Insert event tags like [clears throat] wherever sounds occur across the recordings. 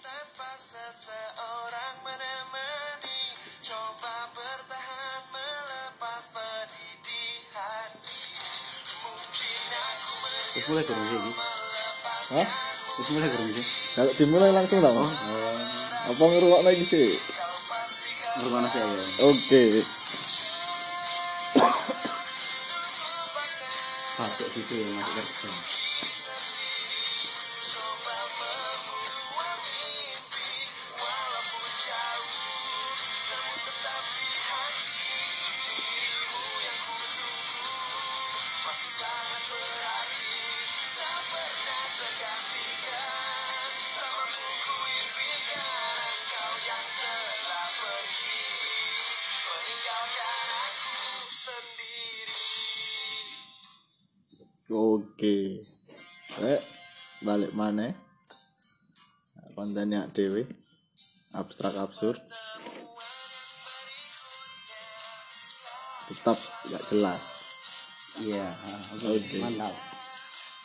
Tanpa seseorang menemani Coba bertahan melepas pedih di hati Mungkin aku Terus mulai kurang sih Ki? melepaskan Hah? Terus mulai kurang sih Kalau dimulai langsung tak mau? Apa ngeruak lagi sih? Kau pasti kau Bermana sih ya Oke. Batuk gitu situ ya, yang masuk kerja coba membuat mimpi Walaupun jauh Namun tetap di hati Dirimu yang ku tunggu Masih sangat berarti Tak pernah tergantikan Namamu ku impikan Engkau yang telah pergi Meninggalkan aku sendiri Oke. Rek, balik mana? Kontennya dewe. Abstrak absurd. Tetap nggak jelas. Iya ha, Oke. Oke Mantap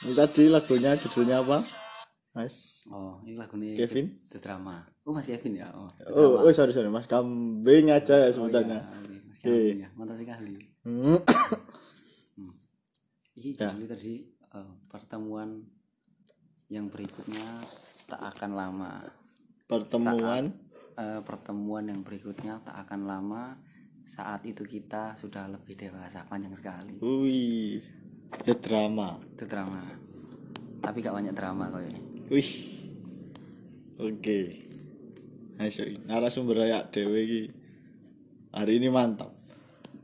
Ini tadi lagunya judulnya apa? Mas. Oh ini lagu nih Kevin? The Drama Oh Mas Kevin ya Oh, The Oh, Drama. oh sorry sorry Mas Kambing aja ya iya, sebutannya. oke, Mas Oke. Kevin ya Mantap [coughs] sekali Hmm. Ini Ya. judulnya tadi eh, Pertemuan yang berikutnya tak akan lama Pertemuan. Eh, pertemuan yang berikutnya tak akan lama saat itu kita sudah lebih dewasa panjang sekali Wih. The drama. itu drama tapi gak banyak drama kok ya Wih. Oke. Ayo, narasumber ayak dewe iki. Hari ini mantap.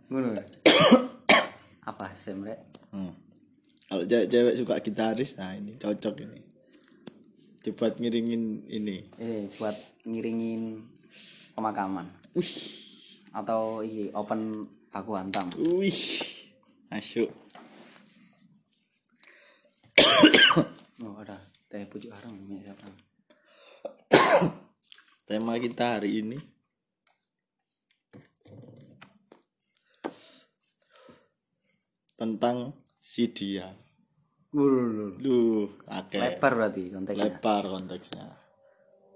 Ngono ya? [coughs] apa sih Rek? Hmm. Kalau cewek-cewek suka gitaris, nah ini cocok ini. Cepat ngiringin ini. eh buat ngiringin pemakaman Wih. atau iya open aku hantam Wih. Asyik. oh ada teh pucuk harum ya, siapa Tema kita hari ini tentang si dia. Duh, akeh. lebar berarti konteksnya lebar konteksnya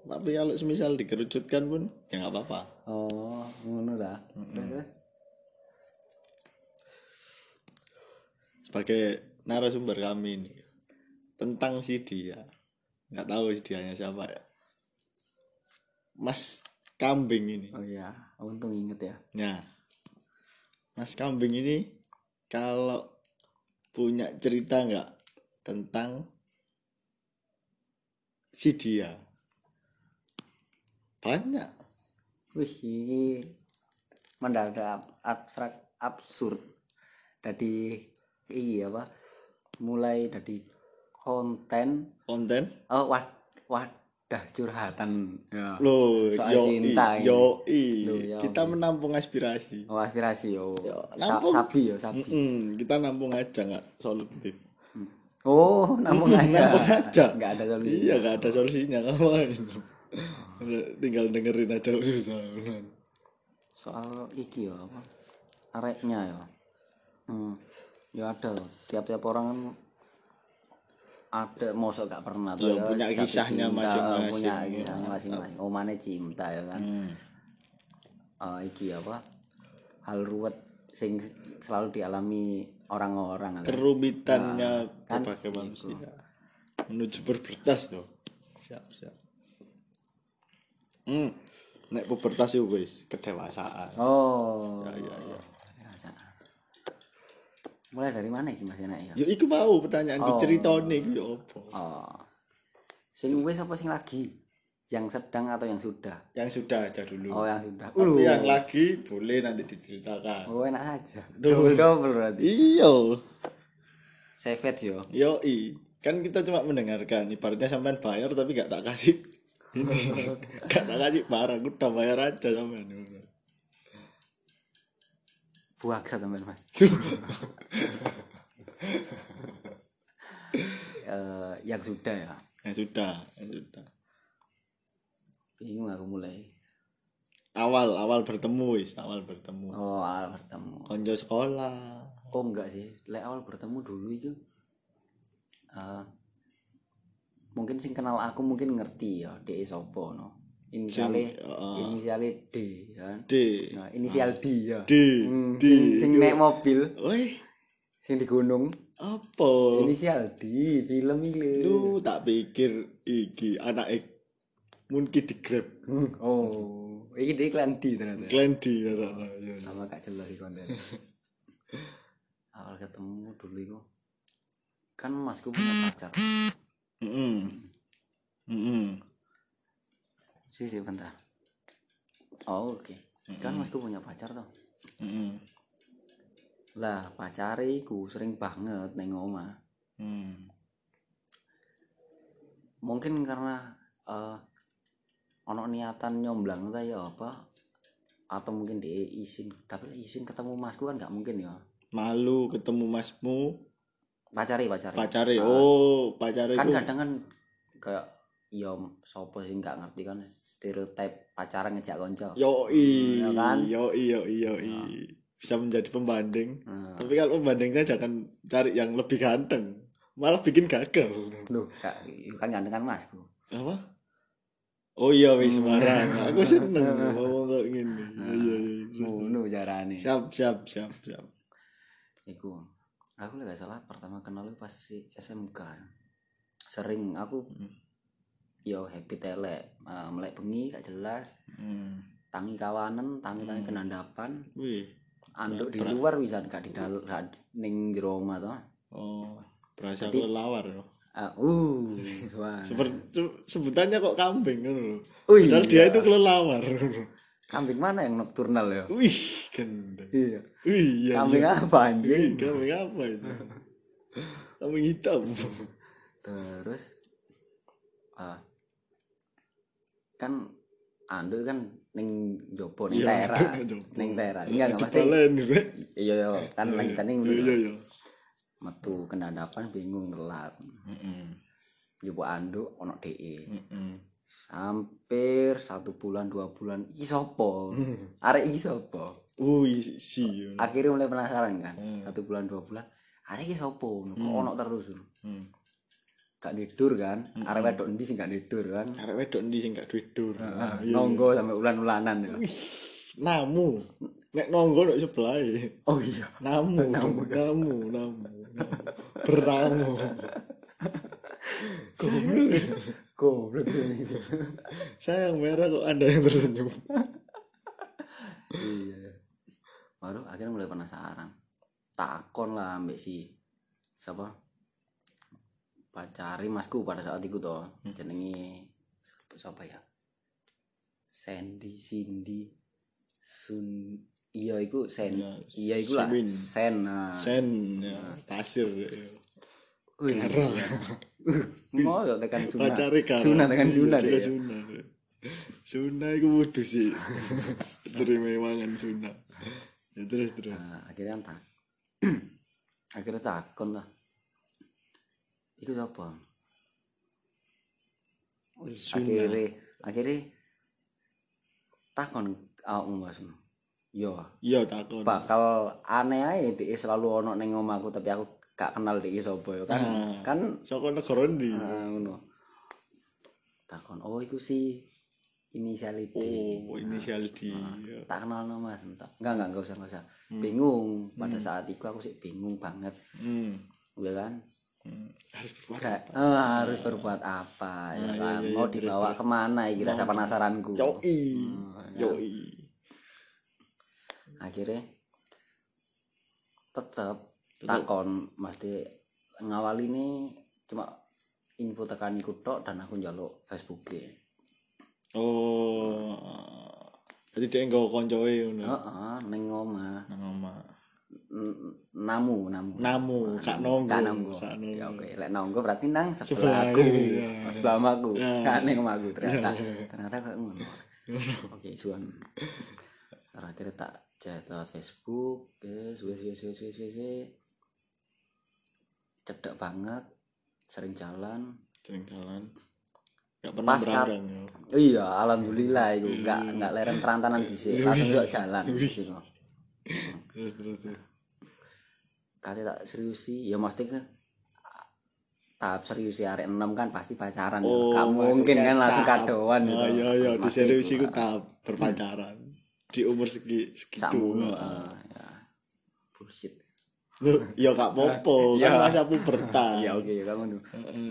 tapi kalau semisal dikerucutkan pun ya nggak apa-apa oh ngono lah Terus, terus? sebagai narasumber kami ini tentang si dia nggak tahu si dianya siapa ya Mas Kambing ini oh iya untung inget ya nah Mas Kambing ini kalau punya cerita nggak tentang si dia banyak Wih, ini mendadak ab- abstrak absurd. Dari iya apa? Mulai dari konten konten oh wad, wadah curhatan. Ya. Loh, Soal yo cinta ini. yo Loh, yoi. kita menampung aspirasi. Oh, aspirasi yo. Yo, Sa- oh, nampung. sapi yo, sapi. Mm-mm, kita nampung aja nggak solutif. Oh, nampung aja. [laughs] Nampung aja. Nggak ada solusi. Iya, nggak ada solusinya ngapain. Tinggal dengerin aja susah. bener. soal iki ya apa areknya ya hmm. ya ada loh. tiap-tiap orang kan ada mosok gak pernah tuh Ya, punya jatuh kisahnya cinta, masing-masing, punya ya. kisahnya masing-masing oh mana cinta ya kan Hmm. Eh, iki apa hal ruwet sing selalu dialami orang-orang kan. Kerumitannya kan berbagai manusia. Menuju pubertas yo. Siap, siap. Hmm. Nek pubertas itu wis kedewasaan. oh Ya, ya, ya. Dewasa. mulai dari mana iki mas enak ya Yo iku mau pertanyaan Oh. diceritone iku yo apa? oh sing wis apa sing lagi yang sedang atau yang sudah yang sudah aja dulu Oh yang sudah. tapi yang lagi boleh nanti diceritakan Oh enak aja. Duh. Double double berarti. iyo Savage yo. yoi kan kita cuma mendengarkan ibaratnya sampean bayar tapi gak tak kasih [laughs] ini gak tak kasih barang udah bayar aja sampean Ya Buang satu teman-teman. Eh, yang sudah ya. yang sudah yang sudah Bingung aku mulai. awal awal bertemu wis awal bertemu Oh awal bertemu. konco sekolah Oh enggak sih. Lek awal bertemu dulu itu. eh, mungkin sing kenal aku mungkin ngerti ya. Dia sopo no. inisialnya heeh. inisialnya D kan D nah inisial D ya D Hmm, D sing, sing naik mobil Woi, sing di gunung apa? Oh. inisial D film ini Lu tak pikir iki anak ik mungkin di grab Hmm, [laughs] oh ini dia iklan D ternyata kalian di ya, tak, tak, ya. sama gak jelas di konten [laughs] awal ketemu dulu itu kan masku punya pacar Mm-mm. Mm-mm. sih sih bentar oh oke kan masku punya pacar toh Mm-mm. lah pacar iku sering banget neng oma Mm. mungkin karena eh ono niatan nyomblang ta ya apa atau mungkin dia izin tapi izin ketemu masku kan nggak mungkin ya malu ketemu masmu pacari pacari pacare oh Ah. pacare kan ku kadang kan kayak ya sopo sih nggak ngerti kan stereotip pacaran ngejak konco yoi Ya kan? Ah. yoi yoi yoi bisa menjadi pembanding Hmm. tapi kalau pembandingnya jangan cari yang lebih ganteng malah bikin gagal loh kak kan ganteng kan masku apa oh iya wis Hmm. sembarang aku [laughs] seneng ngomong kayak gini Ah. iya iya iya. ngono carane siap siap siap siap iku aku lagi salah pertama kenal itu pas si SMK sering aku yo happy telek Ah, melek bengi gak jelas hmm. tangi kawanen tangi tangi kenandapan wih anduk di luar bisa gak di dalam gak ning jero omah to oh berasa kelelawar loh Ah, [laughs] uh suara Seper- se- sebutannya kok kambing kan loh Oh padahal dia itu kelelawar [laughs] kambing mana yang nokturnal ya wih gendeng iya wih iya kambing apa anjing Ih, kambing apa itu kambing hitam terus ah, kan Ando kan ning jopo ning daerah [laughs] ning daerah enggak enggak pasti dibalen gue iya iya kan lanjutan ning iya iya metu kendandapan bingung ngelat jopo Ando ono E. DE hampir satu bulan dua bulan iki [laughs] sopo arek iki sopo wih Oh, si ya. akhirnya mulai penasaran kan satu bulan dua bulan arek iki sopo kok ono terus Hmm. gak tidur kan arek wedok endi sing gak tidur kan arek wedok ndi sing gak duwe dur Ah, Iya. nonggo sampai ulan-ulanan ya. namu nek nonggo nek sebelah Oh iya. namu [laughs] namu namu namu bertamu Goblok. Goblok. saya yang merah kok anda yang tersenyum Iya. Baru akhirnya mulai penasaran. Takon lah ambek si siapa? Pacari masku pada saat itu toh. Hmm. Jenenge siapa ya? Sandy, Cindy, Sun Iya iku Sen. Iya, Iya iku lah Sumin. Sen. Nah. sen ya, pasir ya. Wih. ya. [laughs] Mau yo tekan Suna. pacare karo Suna tekan Suna Iya, deh. ya. Suna Suna iku wudu [laughs] sih terima mangan Suna ya terus terus Nah, akhirnya tak [clears throat] akhirnya takon lah itu apa Wih, Sunnah. akhirnya akhirnya takon awakmu mas yo iya takon bakal aneh aja dia selalu ono neng omahku tapi aku gak kenal dia sapa ya kan Nah. kan saka negara ndi eh, ngono takon oh itu si inisial D oh inisial D Ah. ya. tak kenal no mas enggak enggak enggak usah enggak usah bingung pada saat itu aku sih bingung banget hmm. ya kan Hmm. harus berbuat kayak eh, harus berbuat apa ya kan mau dibawa kemana ya rasa penasaranku yoi Ah, yoi akhirnya tetep takon mesti ngawal ini cuma info tekan ikut tok dan aku njaluk Facebook e." oh jadi dia nggak koncoe ngono Heeh, neng omah. nang oma N- namu, namu. namu kak nonggo Gak nanggo. kak Ya nonggo oke, lek nanggo berarti nang sebelah Sebelah aku. oh, iya. Sebelah omaku. Iya. [laughs] Gak ning omaku ternyata. Ternyata kayak ngono. Oke, suan. Terakhir tak chat lewat Facebook, oke, suwe suwe suwe suwe suwe. suwe. Cedek banget, sering jalan. sering jalan gak pernah Pas kat- beranggang ya. Iya, alhamdulillah itu enggak enggak leren terantanan dhisik, langsung yuk jalan dhisik. terus terus terus Kali tak serius sih, ya mesti ke tahap serius ya arek enam kan pasti pacaran Oh, gak mungkin kan langsung tahap. kadoan Oh, gitu iya iya di Pasti serius itu, iku Pak. tahap gitu. berpacaran. Di umur segi segitu. Sakmono, Pak. eh, ya. bullshit Loh, ya gak popo, kan [laughs] Iya. masa pubertas. ya oke ya kamu Heeh.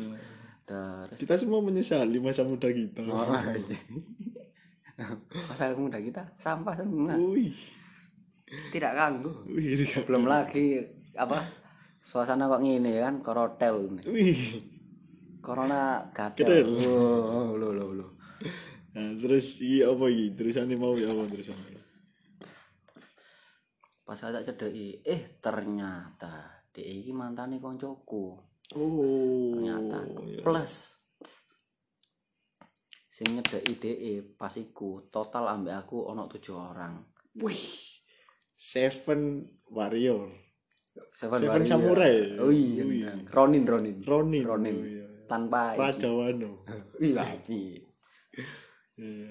terus Kita semua menyesali masa muda kita. Oh. masa muda kita sampah semua [laughs] Wih, tidak ganggu wih, tiga- belum lagi apa suasana kok ngene kan korotel ini. wih. corona Gatel. gatel oh, lo lo lo Nah, terus iki apa iki? Terusane mau ya apa terusane? pas ada cedeki eh ternyata dia ini mantannya koncoku Oh. ternyata iya. plus sing nyedeki DE pas iku total ambek aku ono tujuh orang Wih. Seven Warrior. Seven, Seven Warrior. Samurai. oh iya Wih. benar. Ronin Ronin Ronin. Ronin. Oh, iya. tanpa Raja Wano. iya lagi Iya.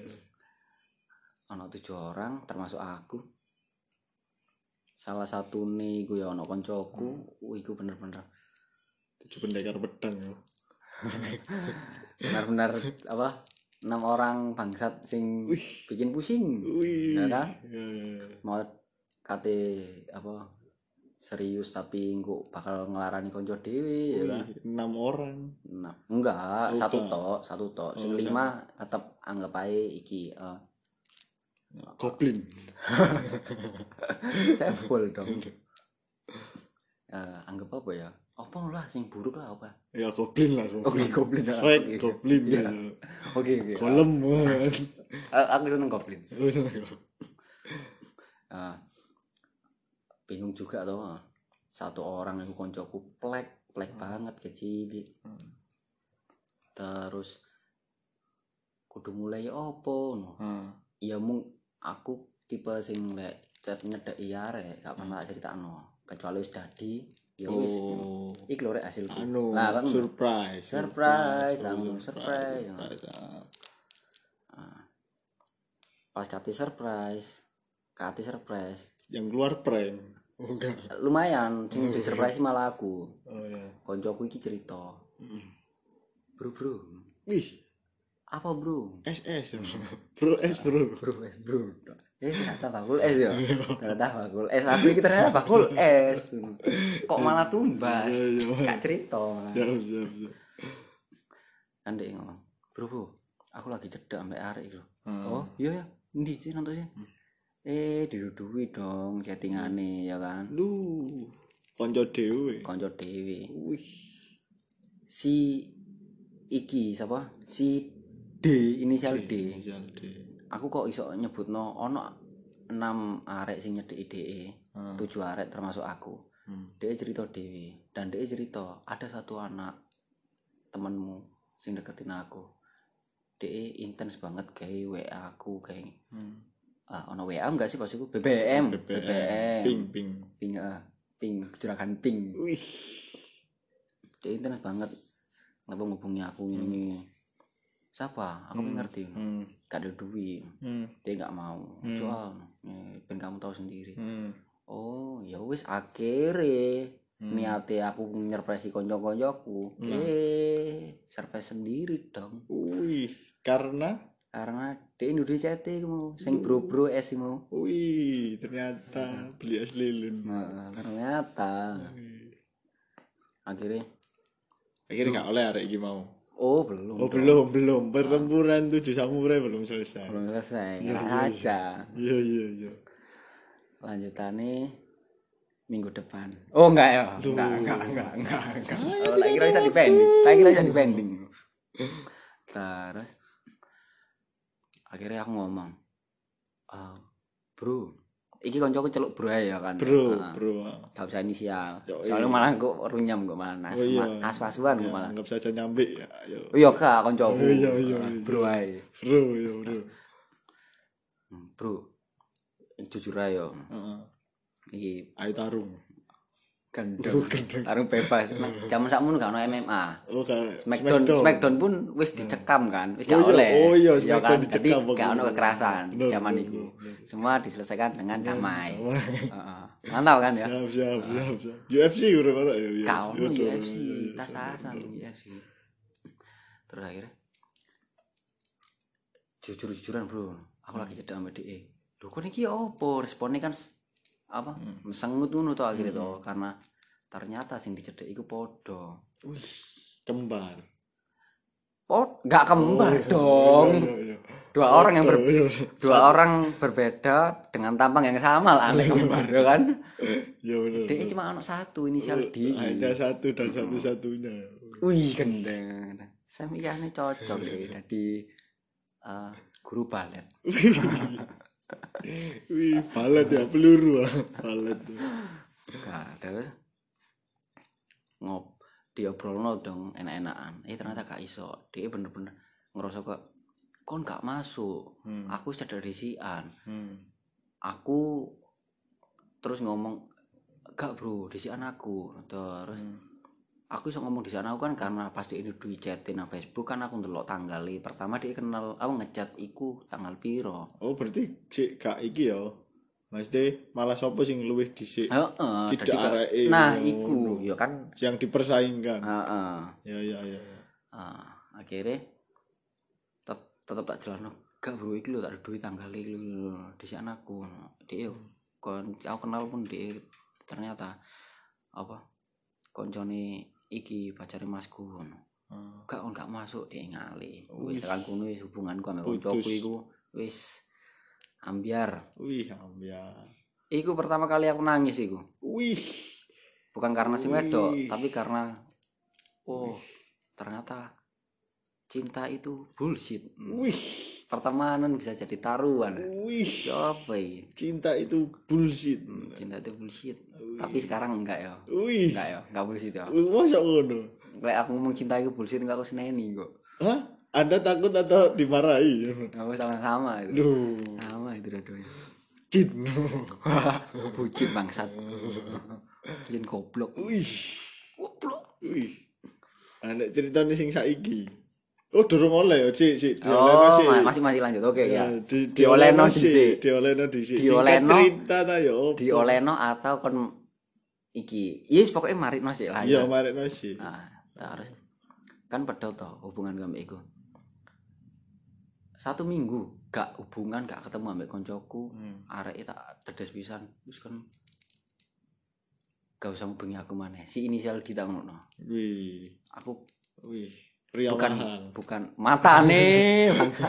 ono tujuh orang termasuk aku salah satu nih gue ono koncoku Wih, iku bener-bener Tujuh pendekar pedang ya. benar-benar apa enam orang bangsat sing bikin pusing Wih. ya kan Iya, iya. mau kate apa serius tapi engko bakal ngelarani konco dewi ya kan Wih, enam orang. nah, enggak Oh, satu enggak. tok satu tok sing Oh, lima tetap anggap aja iki [laughs] eh, Nah, Goblin. saya full dong Eh, anggap apa ya apa lah sing buruk lah apa Ya goblin lah goblin. Oke, goblin lah. Shrek, Oke. goblin. Iya. Ya. oke oke Golem. man. Eh, aku seneng goblin Lu seneng gak? Ah, bingung juga toh ah. satu orang yang koncoku plek plek banget kecil Hmm. terus kudu mulai opo no. Ah. ya mung aku tipe sing lek cet nyedek iya rek gak pernah cerita no kecuali wis dadi ya wis Hmm. Oh. iki lho rek hasilku Anu, Nah, kan- surprise. Surprise, langsung surprise. surprise. Ah. pas kati surprise kati surprise Yang keluar prank. Oh, enggak. lumayan sing Hmm. disurprise malah aku Oh ya. koncoku iki cerita Hmm. bro bro Wih, apa bro SS. Bro S, Bro. bro es bro eh ternyata bakul es ya ternyata bakul es aku ini ternyata bakul es kok malah tumbas Iya, iya. gak cerita malah. Siap, siap, siap. kan dia ngomong bro bro aku lagi cedak sampai arek itu Hmm. oh iya ya ndi sih nontonnya eh didudui dong chattingane ya kan Lu konco dhewe. konco dewi Wih. si iki siapa si D inisial D Inisial D. aku kok iso nyebutno ono enam arek sing nyedeki DE, Hmm. tujuh arek termasuk aku. Hmm. DE cerita dewi dan DE cerita ada satu anak temenmu sing deketin aku. DE intens banget kayak WA aku kayak Hmm. ah, ono WA enggak sih pas iku? BBM, BBM, Ping, ping. ping, eh, ping, juragan ping. Wih. DE intens banget ngapa ngubungi aku ini ini. Siapa? Aku nggak ngerti. Hmm. Gak ada duit. Hmm. dia nggak mau Hmm. soal eh, ben kamu tahu sendiri Hmm. oh ya wis akhirnya niate aku nyerpresi konco-koncoku Hmm. eh surprise sendiri dong Wih, karena karena dia udah CT mau Hmm. sing bro-bro es mau wih ternyata beli es lilin. nah, ternyata Hmm. akhirnya Akhirnya gak oleh arek iki mau. oh belum Oh, belum, belum. Pertempuran tujuh samurai belum selesai. belum selesai Enak aja Iya, iya, iya. lanjutannya minggu depan oh enggak ya enggak enggak enggak enggak enggak oh, tak kira bisa dipending tak kira bisa dipending terus akhirnya aku ngomong "Ah, bro iki koncoku celuk bro ae ya kan Bro, Heeh. bro. Ah. gak usah inisial Yo, soalnya malah kok runyam kok malah nas Oh, iya. aswasuan kok malah Anggap saja nyambi ya. Ayo. oh iya kak koncoku Oh, iya, iya, Heeh, iya. bro ae Bro, ya, bro. Hmm, bro jujur ae yo Heeh. iki Ayo tarung. gendong tarung bebas Nah, zaman sakmono gak ono MMA Oh, kan. Smackdown, [laughs] Smackdown pun wis dicekam kan, wis gak Oh iya, oleh. oh iya, Iya Smackdown kan, jadi dicekam waktu gak ono itu. kekerasan Bener, zaman bener, itu. bener. Semua diselesaikan dengan damai. Ya. Heeh. Mantap kan ya? Siap, siap, siap, siap. UFC udah mana ya? ya. Gak ono Yaudah, UFC, ya, ya, ya. tas-tasan tuh UFC. Iya Terus akhirnya jujur-jujuran, Bro. Aku lagi cedak sama DE. Lho kok niki opo? Responnya kan s- apa? Hmm. Mesengut ngono to akhirnya to karena ternyata sing dicedek iku podo. Wih, kembar. Pot gak kembar Oh, dong. iya, iya. dua orang yang ber- Iya, dua orang berbeda dengan tampang yang sama lah aneh kembar ya kan Iya benar. dia cuma anak satu inisial D Hanya satu dan satu-satunya. wih gendeng saya mikirnya cocok deh Iya. jadi eh, guru balet Wih, palet ya peluru [laughs] ah. palet. nah terus ngop diobrolno dong enak-enakan eh ternyata gak iso dia bener-bener ngerasa kok kon gak masuk Hmm. aku sederisian Hmm. aku terus ngomong gak bro di aku terus Hmm. aku iso ngomong di sana aku kan karena pas dia ini di chatin nang Facebook kan aku ndelok tanggali pertama dia kenal aku ngechat iku tanggal piro Oh, berarti si kak iki ya. Mas De malah sopo sing luwih dhisik heeh Tidak dadi gak- areke nah ngono. iku ya kan yang dipersaingkan. heeh Ya ya ya. ya. Ah, akhirnya tetep tetep tak jelasno gak bro iki lho tak ada duit tanggal iki lho di sana aku dia kon aku kenal pun dia ternyata apa koncone iki pacare masku ngono Ah. gak kon gak masuk dia ngali Wis. wis tekan kono wis hubunganku ambek Putus. kancaku iku wis ambiar Wih, ambiar. iku pertama kali aku nangis iku Wih. bukan karena si wedok Wih. tapi karena oh ternyata cinta itu bullshit Hmm. Wih. pertemanan bisa jadi taruhan Wih. coba ini Cinta itu bullshit. cinta itu bullshit tapi sekarang enggak ya Wih. enggak ya enggak bullshit ya Wih, Masa ngono? kayak aku ngomong cinta itu bullshit enggak aku seneni kok Hah? Anda takut atau dimarahi? aku sama-sama itu Duh, sama itu dua-duanya [laughs] jin. bucin bangsat bucin goblok Wih, goblok wih. Anda cerita nih Ah, sing saiki. Oh, dorong oleh ya, Cik, Cik. Diolehno, oh Cik. ma- masih masih lanjut oke ya Di, dioleno diolehno, Cik. sih Diolehno dhisik. Singkat Diolehno. cerita ta ya. opo. dioleno atau kon iki yes pokoknya marit sih lah ya. Iya, Ah. marekno sih. nah, terus kan pedo toh hubungan kami iku satu minggu gak hubungan gak ketemu ambek koncoku Hmm. arek tak tedes pisan terus kan gak usah ngubengi aku maneh si inisial kita ngono Wih, aku wih. Pria bukan mahal. bukan mata nih bangsa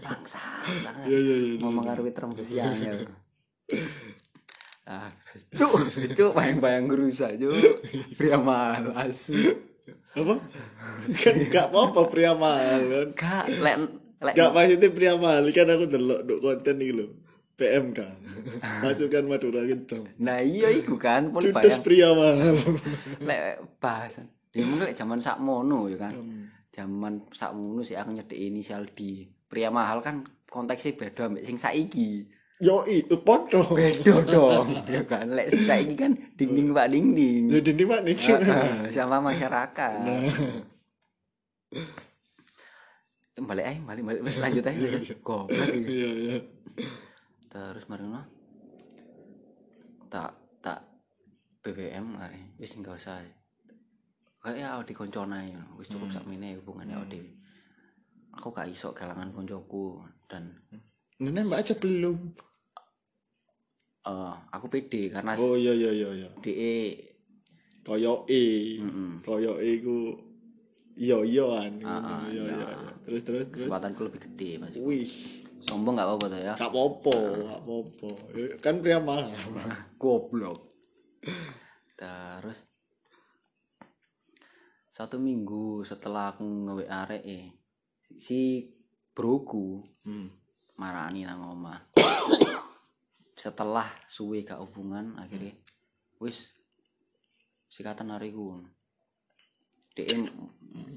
bangsa bangsa. Iya, iya, iya. mau mengaruhi terembus yang ah cuk cuk bayang bayang guru saja pria mahal asu Apa? [laughs] kan gak apa-apa pria mahal kan. gak lek lek Gak maksudnya pria mahal kan aku delok dok konten iki lho. PMK. [laughs] Pasukan Madura Kencang. nah iya iku kan pun Cudes bayang pria mahal. [laughs] lek bahasan ya mungkin lek zaman sakmono ya kan zaman sakmono sih aku nyedek inisial di pria mahal kan konteksnya beda mbek sing saiki Yo i, foto. beda dong ya kan lek saiki kan dinding pak dinding Jadi di mana nih? Heeh, sama masyarakat Eh, balik aja balik balik balik, lanjut aja goblok ini. Iya iya. terus marino tak tak BBM kali wis nggak usah kayak awal di koncona ya wis cukup sak mene hubungannya awal dhewe. aku gak iso kelangan koncoku dan Nenek mbak aja belum. eh, aku pede karena E, Oh iya iya iya iya. DE Koyo i, Mm-mm. koyo i ku. Iya iya an. Iya iya. iya. Terus terus terus. kesempatanku lebih gede masih Wih, sombong gak apa-apa tuh ya gak popo, gak popo. Ya, Kan pria mahal. goblok terus satu minggu setelah aku nge arek eh, si broku Hmm. marani nang omah setelah suwe gak hubungan akhirnya wis sikatan hari ku DM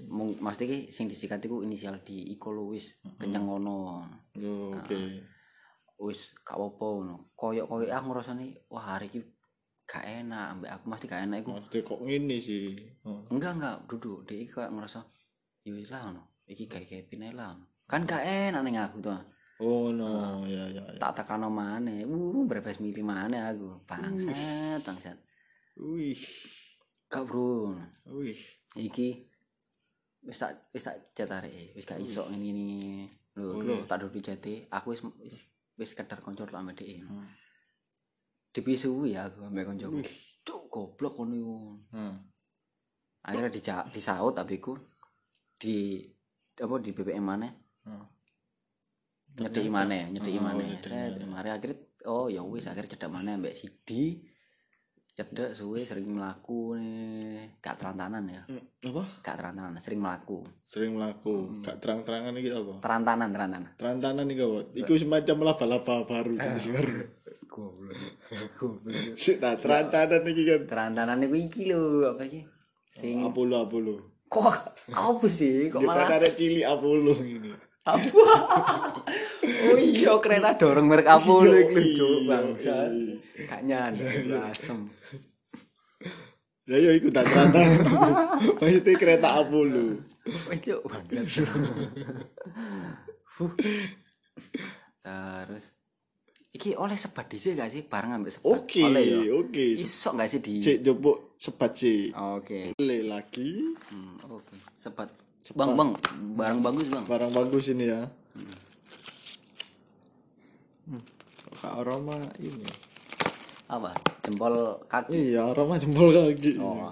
mung mesti ki sing disikat iku inisial di Iko Luwis kenceng ngono Oh, Oke. wis gak apa-apa ngono. Koyok-koyok aku ngrasani wah hari iki gak gak enak ambek aku mesti gak enak iku maksudnya kok ngini sih oh. enggak enggak duduk dia iki kayak ngerasa yo wis lah ngono iki gak kayak pine lah ngono. kan gak enak ning aku tuh oh no ya ya ya tak tekano maneh uh berbes mili maneh aku bangsat bangsat wih gak bro wih iki wis tak wis tak jatare wis gak iso ngene ngene ngene. lho Oh, lho iya. tak duduk jati aku wis wis wis kedar konco lah ambek dhek Hmm. dipisuhi ya aku ambek koncoku cuk goblok ngono iku. Hah. akhirnya di disaut abiku di apa di BBM mana Hah. nyedeki mana nyedeki Hmm. Oh, mana nyedeki Red, maneh. mari akhirnya oh ya wis akhirnya cedak mana mbak Sidi cedak suwe sering melaku nih gak terantanan ya Hmm, apa gak terantanan sering melaku sering melaku gak terang-terangan iki apa terantanan terantanan terantanan iki apa iku Nah. semacam laba-laba baru jenis baru goblok goblok sik tak terantanan iki kan terantanan itu iki lho apa sih sing Apollo Apollo Hmm. kok apa sih kok kita malah ada cili Apollo ini apa [laughs] oh iya kereta dorong merek Apollo Iya, iki lho Cuk, iya, bangsa iya. gak nyandang asem ya yo ikut tak [laughs] terantanan maksudnya kereta Apollo Wih, Cuk, bangsat. Huh. terus iki oleh sebat dhisik gak sih bareng ambil sebat oke oleh ya oke iso gak sih di cek jopo sepat cek Ah. oke boleh lagi Hmm, oke sebat bang bang barang bagus bang barang bagus ini ya hmm. Kak aroma ini ya? apa jempol kaki iya aroma jempol kaki Oh.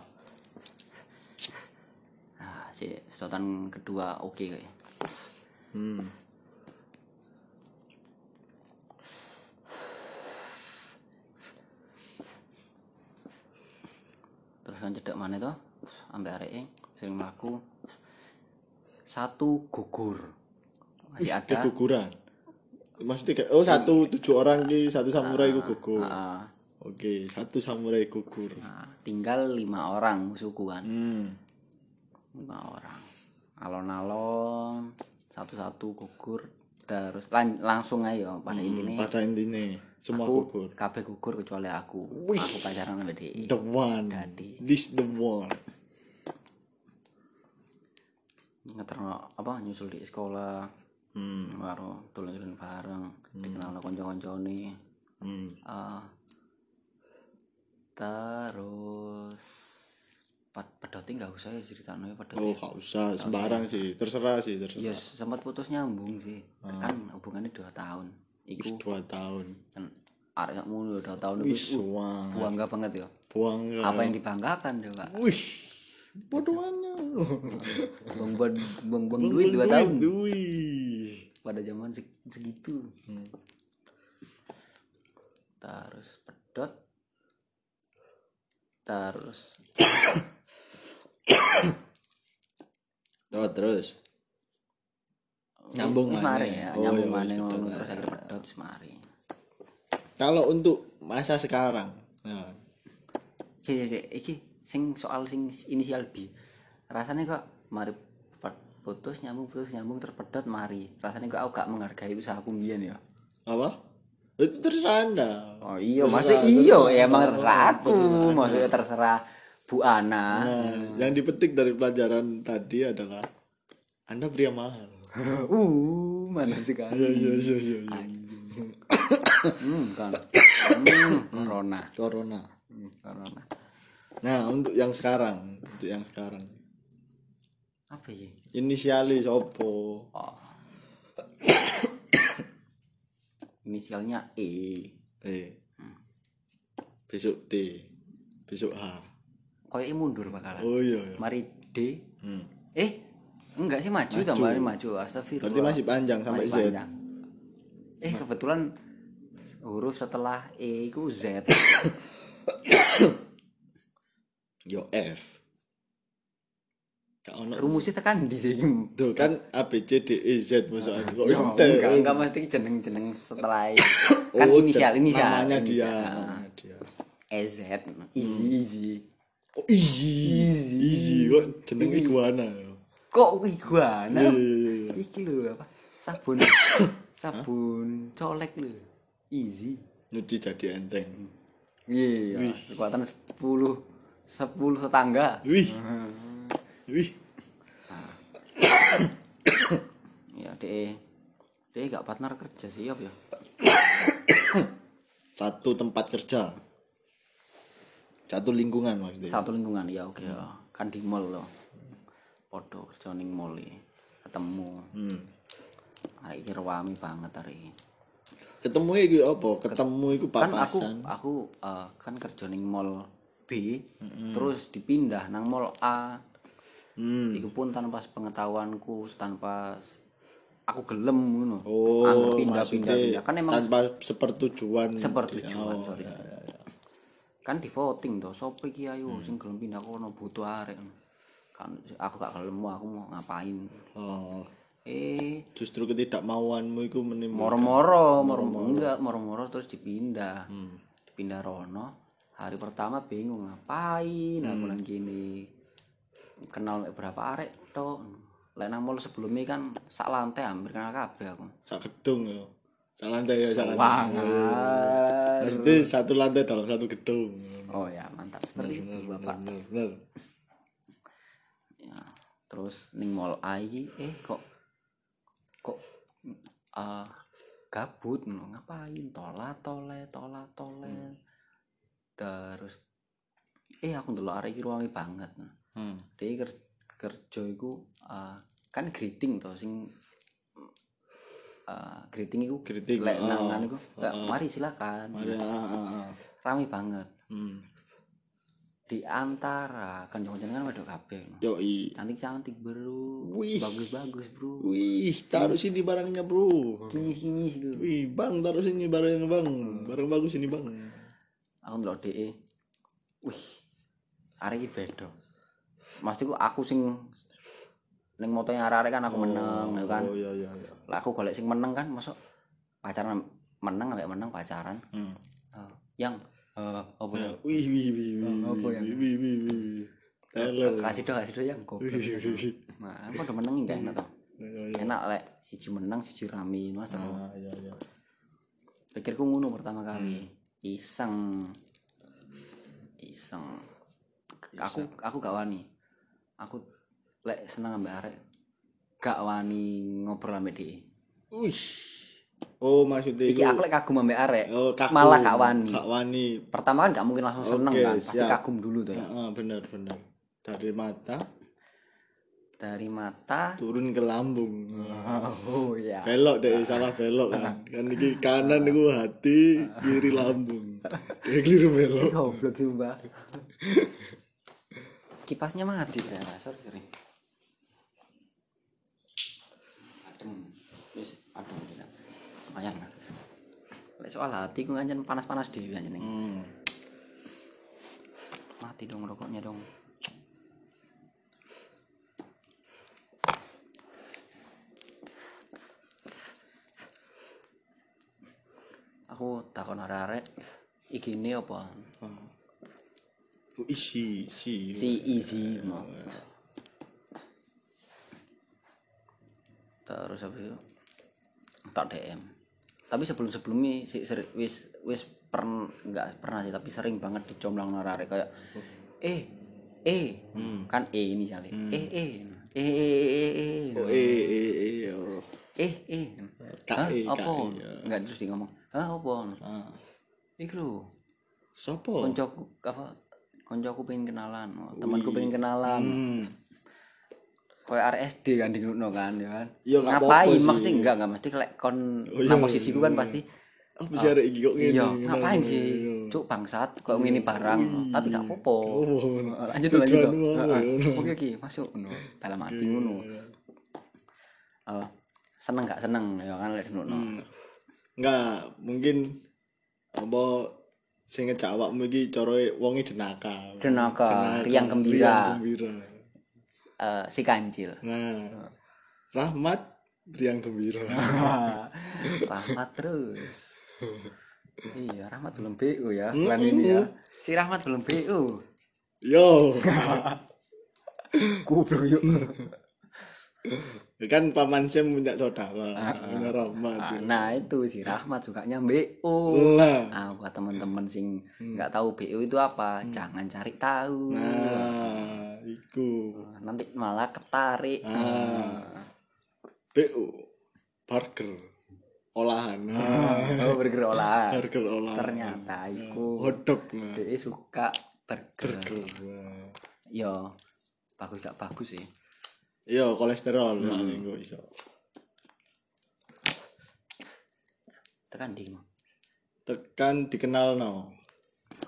Ah, si sedotan kedua oke kayaknya. hmm. Terus kan cedak mana toh? Ambek areke sering mlaku. Satu gugur. Masih Kayak ada. guguran maksudnya kayak oh satu tujuh orang ki satu samurai ku gugur Ah, oke satu samurai gugur ah, tinggal lima orang musuhku kan. hmm. Lima orang. Alon-alon satu-satu gugur terus lan- langsung ayo pada Hmm, intinya pada intinya semua aku gugur kabeh gugur kecuali aku. Aku pacaran sama dia. the one Jadi. this the one ngeterno apa nyusul di sekolah hmm. baru tulen-tulen bareng Ah. dikenal konco-konco nih Hmm. terus pad pedoti nggak usah ya ceritanya pedoti oh gak usah sembarang sih terserah sih terserah ya sempat putus nyambung sih Ah. kan hubungannya dua tahun iku dua tahun kan arek sak mulu dua tahun wih itu suang bangga banget ya buang apa yang dibanggakan deh pak Wih, bodohannya. bang bang bang bang duit dua tahun Duit. pada zaman seg- segitu Hmm. terus pedot terus Oh, terus. Nyambung Wis maneh. mari ya Oh, nyambung iya, maneh wis ngono pedot. terus akhirnya pedot wis mari Kalau untuk masa sekarang, nah, Cek, cek, cek. iki sing soal sing inisial D rasanya kok mari pe- putus nyambung putus nyambung terpedot mari rasanya kok aku gak menghargai usahaku mbiyen ya apa? Itu terserah Anda. oh iya Terserah, maksudnya iya terserah. ya emang terserah aku Terserah Anda. maksudnya terserah Bu Ana Nah, yang dipetik dari pelajaran tadi adalah Anda pria mahal. [laughs] uh mana Iya, sekali iya, iya, iya, iya. hmm kan hmm, corona Corona. Hmm, corona Nah, untuk yang sekarang, untuk yang sekarang. apa ya Inisialis opo? oh inisialnya E Eh. Hmm. Besok T. Besok H. koyoknya E mundur bakalan Oh iya. iya. mari D Hmm. eh enggak sih maju, tambah ini maju astagfirullah Berarti masih panjang sampai Masih Z. panjang. eh kebetulan huruf setelah E itu Z Yo F. Kak ono. rumusnya tekan di sini Tuh kan A B C D E Z maksudnya. Kok Ya, wis T? enggak, enggak mesti jeneng-jeneng setelah [coughs] E. kan Oh, inisial ter- inisial Namanya dia. inisial. namanya dia. EZ easy easy Oh easy. Easy kok jeneng Eh, iguana. ya. kok iguana Iya iya iya, iya. iki lho apa [coughs] sabun sabun colek lho easy Nyuci jadi enteng. Iya, kekuatan 10 10 tetangga. Wih. Ah. Wih. Iya, DE. DE gak partner kerja sih, apa ya? Satu tempat kerja. Satu lingkungan maksudnya. Satu lingkungan ya, oke. ya. Kan di mall loh. Podo kerja ning mall ya. Ketemu. Hmm. Hari ini rewami banget hari ini. Ketemu iku apa? Ketemu iku Kan aku papasan. aku eh, kan kerja ning mall B, terus dipindah nang mall A. Hmm. Iku pun tanpa pengetahuanku, tanpa aku gelem ngono. Oh, Angger pindah-pindah maksudnya pindah. kan emang tanpa sepertujuan. sepertujuan Oh, sorry kan di voting toh sopo iki ayo sing gelem pindah kono butuh arek kan aku gak gelem aku mau ngapain Oh, eh justru ketidakmauanmu iku menimbulkan moro-moro moro-moro enggak moro-moro terus dipindah dipindah rono hari pertama bingung ngapain aku nang gini kenal mek berapa arek tok lek nang mall sebelumnya kan sak lantai hampir kenal kabeh aku sak gedung ya. Sak lantai ya, sak lantai. Wangan. Maksudnya satu lantai dalam satu gedung. oh ya mantap seperti itu bapak Bener, bener. ya terus ning mall A iki eh kok kok eh gabut no, ngapain tola tole tola tole terus eh aku ndelok arek iki ruangi banget Hmm. dia ker kerja iku eh, kan greeting to sing eh, greeting iku Greeting, lek oh, nang nang iku "Eh, mari silakan Ada ah, ah, ah. rame banget Hmm. di antara kencang-kencang kan wedok kabeh no. Yoi. cantik-cantik bro Wih. bagus-bagus bro Wih, taruh sini barangnya, Bro. Ngih-ngih gitu. Wih, Bang, taruh sini barangnya, Bang. Barang bagus ini, Bang. Aku ndelok DE. Wih. Arek iki beda. Maksudku aku sing ning motoe arek-arek kan aku meneng ya kan. Oh, iya iya iya. Lah aku golek sing meneng kan masuk pacaran meneng ambek meneng pacaran. Hmm. Eh, yang eh apa ya? Wih, wih, wih, wih. Oh, apa yang- Wih, wih, wih, wih, wih. Teler. Kasih dong, kasih dong yang [laughs] goblok. Wih, wih, wih. Nah, aku udah meneng enggak enak toh. Iya, iya. Enak lek siji menang siji rame Mas. Ah, iya, iya. pikirku ngono pertama Hmm. kali iseng iseng aku aku gak wani aku lek seneng ambek arek gak wani ngobrol ambek dia Wih. Oh, maksudnya iki itu. aku lek kagum ambek arek Oh, kagum. malah gak wani Kak Wani. pertama kan gak mungkin langsung seneng Oke, kan pasti siap. kagum dulu tuh ya Ah, benar, benar. Dari mata dari mata turun ke lambung. oh ya belok deh salah belok [laughs] kan kan iki kanan niku hati kiri lambung dia keliru belok [laughs] goblok sumpah kipasnya mati ya sorry sorry adem wis adem bisa lumayan lah lek soal hati ku ngancen panas-panas dhewe anjen ini. hmm. mati dong rokoknya dong aku takon arek-arek iki ini apa Oh, isi isi si easy mau terus apa itu tak DM tapi sebelum sebelumnya si seri- wis wis pernah nggak pernah sih tapi sering banget dicomblang narare kayak eh eh Hmm. kan eh ini jale eh eh eh eh eh eh oh eh eh eh oh. eh eh Hah, Kak eh, kak apa eh, ya. nggak terus di ngomong ah apa ah iku Oh. lho sopo koncoku apa koncoku pengen kenalan oh, temanku pengen kenalan hmm. koyo arek SD kan di no kan ya kan Iya, nggak ngapain apa-apa sih. maksudnya enggak enggak mesti lek kon iya, nang posisiku kan pasti apa sih arek iki kok ngene iya Ngene, ngapain ngene, sih iya. cuk bangsat kok ngene barang no. tapi gak apa-apa Oh, ngono. Ah, lanjut Ah, Tujuanmu lanjut apa, Heeh. ngono. oke oke masuk no dalam hati ngono iya. Eh, seneng gak seneng ya kan lek no Hmm. Enggak, mungkin apa sing ngejak awakmu iki coroe wonge jenaka. Jenaka, riang gembira. riang gembira. Eh, si kancil Ah. Nah. Rahmat riang gembira. [laughs] Nah. Rahmat terus iya Rahmat belum BU ya Hmm? bulan ini ya si Rahmat belum BU Yo. [laughs] goblok yuk Ya kan paman Sam punya saudara punya rahmat Ah, ya. nah itu si Rahmat sukanya BO lah nah buat temen-temen sing Hmm. nggak tahu BO itu apa jangan cari tahu nah iku nanti malah ketarik Ah. BO oh, burger olahan Ah, oh burger olahan. [laughs] burger olahan ternyata iku hodok nah dia suka burger burger Nah. yo bagus gak bagus sih iya kolesterol Hmm. paling kok iso tekan di tekan dikenal no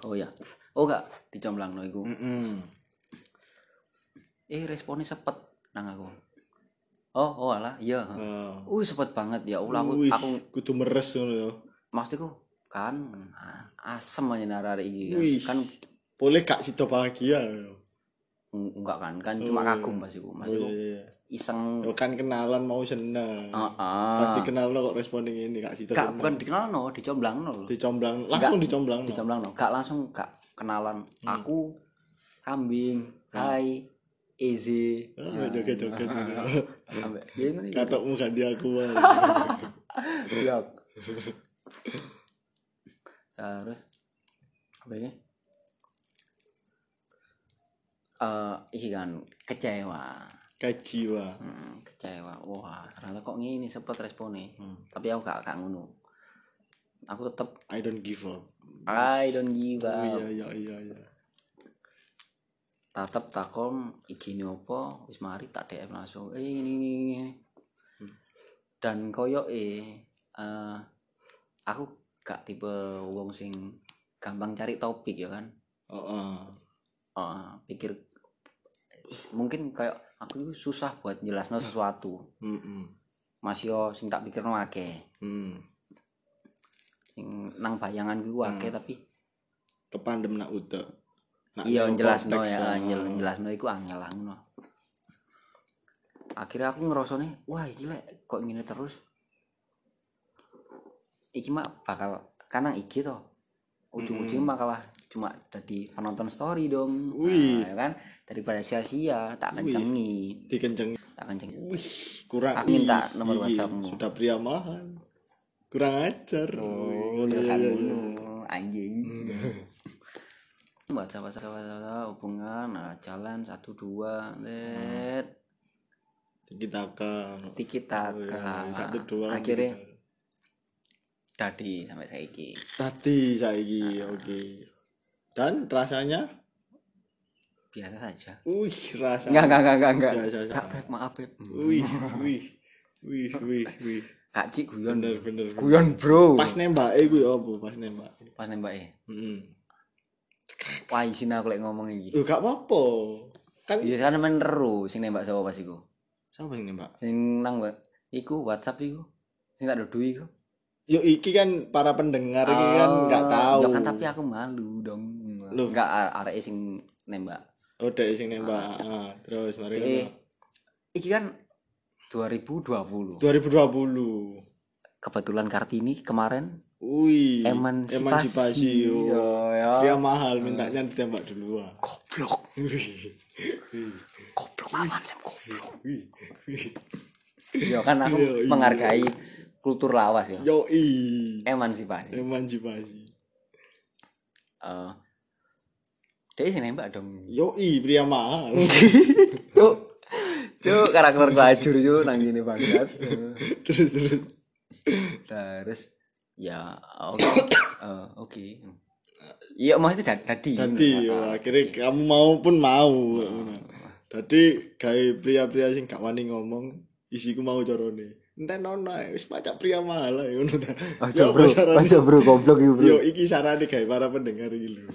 oh ya oh gak dicomblang no iku Hmm. Mm-mm. eh responnya sepet nang aku oh oh alah iya Ah. uh sepet banget ya Allah aku Wih, aku kudu meres ngono ya. maksudku kan a- asem aja narari Wih. iki kan, kan Boleh gak sido bahagia. ya? eng- enggak kan kan cuma kagum pasiku Oh, iya, Oh. maksudku iya. iseng Ya kan kenalan mau seneng. ah ah. Pasti kenal lo kok respon yang ini gak sido gak seneng. bukan dikenal no dicomblang no Dicomblang, langsung dicomblang. no. dicomblang no gak langsung gak kenalan Hmm. aku kambing hai Eze Ah, joget-joget. sampai ya ini Katokmu ganti aku. wae. [laughs] blok terus apa ini Eh, iki kan kecewa Kayak jiwa. Hmm, kecewa wah ternyata kok gini sepet responnya Hmm. tapi aku gak gak ngono aku tetep I don't give up. I don't give Oh, up iya iya iya iya. tatap takon iki ini apa wis mari tak DM langsung eh ini ini, ini. Hmm. dan koyo eh eh, aku gak tipe wong sing gampang cari topik ya kan Oh, ah. Eh, pikir mungkin kayak aku itu susah buat jelasno sesuatu Mm-mm. Mas yo sing tak pikirno akeh Hmm. sing nang bayangan ku akeh Hmm. tapi Kepandem nak utek. Nak iya neo jelas no cortex, ya ah. jel- jelas no iku angel lah ngono akhirnya aku ngerosone wah iki lek kok ngene terus iki mah bakal kanang iki to ujung-ujung Hmm. makalah cuma jadi penonton story dong Wih. Nah, ya kan daripada sia-sia tak Wih. kencengi Dikenceng. tak kencengi Wih, kurang. Aku minta Ih, nomor iki WhatsAppmu. Sudah pria mahal. Kurang ajar. Oh, Iya, ya kan iya, iya. ngono, anjing. Baca baca baca hubungan nah, jalan satu dua net Tiki taka. tiki taka. Oh, iya, Satu dua. kan Akhirnya tiki taka. tadi sampai saiki. Tadi saiki Nah. oke. Dan rasanya, Biasa saja. wih rasa. Enggak enggak enggak enggak enggak. Biasa saja. Kak, Beb, maaf Beb. Wih, wih, wih, wih, wih. Kak Cik guyon. Bener, bener. bener. Guyon, Bro. Pas nembak, eh gue apa? Pas nembak. Pas nembak e. Mm. Wah, isin aku lek ngomong iki. Loh, gak apa-apa. Kan Iya, sana meneru sing nembak sapa pas iku. siapa yang nembak? Sing nang wa- iku WhatsApp iku. Sing tak dudui iku. Yo iki kan para pendengar ini kan Oh, nggak tahu. ya kan tapi aku malu dong. Loh. Enggak arek sing nembak. Oh, dek sing nembak. Ah, terus Eh, mari ngono. iki kan 2020. 2020. Kebetulan Kartini kemarin Wih, Emansipasi. emansipasi, yo. Iya, ya. Dia mahal mintanya ditembak duluan. goblok, Wih, wih, goblok aman sem goblok. wih, wih. Ya kan aku Iya, iya. menghargai kultur lawas ya. Yoi, Emansipasi. Eh, emansipasi. dia sing nembak dong. Yoi, pria [laughs] mahal. Cuk. Cuk, karakter gua ajur cuk nang ngene banget. [laughs] terus terus. Terus ya oke. [coughs] Eh, oke. Iya, maksudnya da- Nah, tadi. Nanti yo, akhirnya kamu mau pun mau. Nah. Tadi kayak pria-pria sing gak wani ngomong, isiku mau corone. Enten nona, wis pacak pria mahal ae ngono ta. Ya, apa sarane? bro, Hmm. goblok iki Yo iki sarane gawe para pendengar iki lho.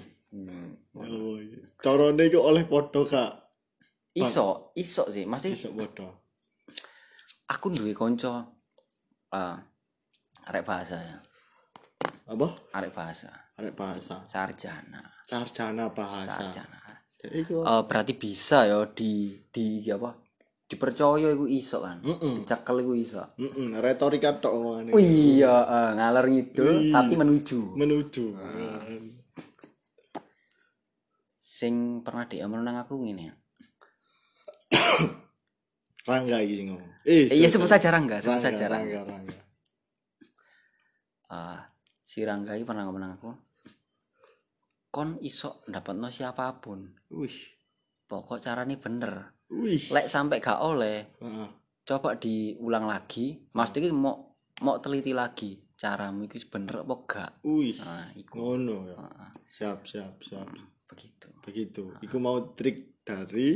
Ya Allah, iki. Corone iku oleh podo kak. Iso, iso sih. Mesti Iso podo. aku duwe kanca eh arek bahasa ya. Apa? Arek bahasa, Arek bahasa. sarjana, Sarjana bahasa. sarjana. Dek Iku Eh berarti bisa ya di di apa? Dipercaya iku iso kan. Dicekel iku iso. Mm-mm, retorika tok omongane. Iya, eh, ngalor ngidul Iya. tapi menuju. Menuju. Ah. ya. Sing pernah DM nang aku ngene. Rangga iki sing ngomong. Eh, Eh, iya sebut sorry, sorry. saja Rangga, sebut Rangga, saja Rangga. Rangga, Rangga. Eh, si Rangga ini pernah ngomong nang aku. Kon iso dapatno siapapun. Wih. Pokok carane bener. Wih. Ah, Lek sampai gak oleh, Heeh. coba diulang lagi. Maksudnya iki mau mau teliti lagi caramu iki bener apa gak. Wih. Nah, iku. Ngono ya. Heeh, Siap, siap, siap. begitu. Begitu. Iku mau trik dari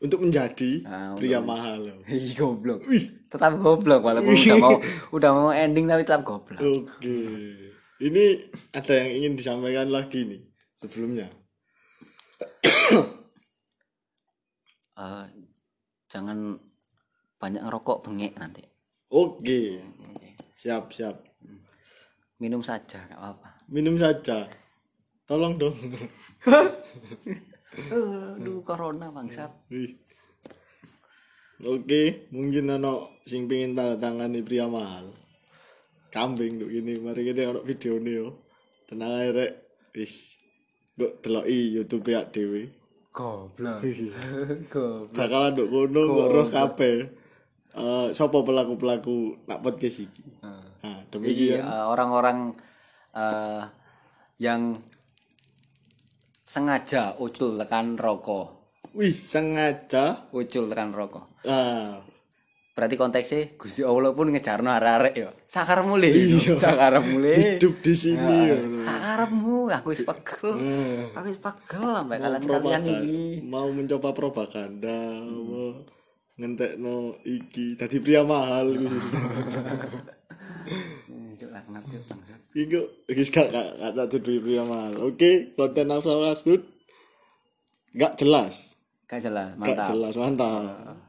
untuk menjadi Ah, untuk pria men- mahal. Ih, goblok. Wih. Tetap goblok walaupun udah mau udah mau ending tapi tetap Oh. goblok. Oke. Ini ada yang ingin disampaikan lagi nih sebelumnya. Eh, jangan banyak ngerokok bengek nanti. Oke. Siap, siap. Minum saja gak apa-apa. Minum saja. Tolong dong. Eh, Aduh, corona bangsat. Wih. Oke, mungkin ono sing pengin tanda tangani pria mahal. Kambing tuh ini, mari kita ono video nih yo. Tenang aja rek. Wis. Dok deloki YouTube ya dhewe. Goblok. Goblok. Bakalan nduk kono kok roh kabeh. Eh sapa pelaku-pelaku nak podcast iki? Ah, Nah, Iya, demikian. eh, orang-orang eh, yang sengaja ucul tekan rokok. Wih, sengaja. Ucul tekan rokok. Ah, Berarti konteksnya Gusti Allah pun ngejarno arek-arek ya. Sakar mulih. Sakar mulih. Iya. hidup di iya. sini. Ah. yo. Arepmu aku wis pegel. Iya. Aku wis pegel sampe kalian-kalian propaganda iki. mau mencoba propaganda ngentek no iki tadi pria mahal Cuk laknat cuk bangsat. iku guys gak gak gak tak judul pria mahal oke konten apa Mas Dud? gak jelas Gak jelas, gak mantap. jelas mantap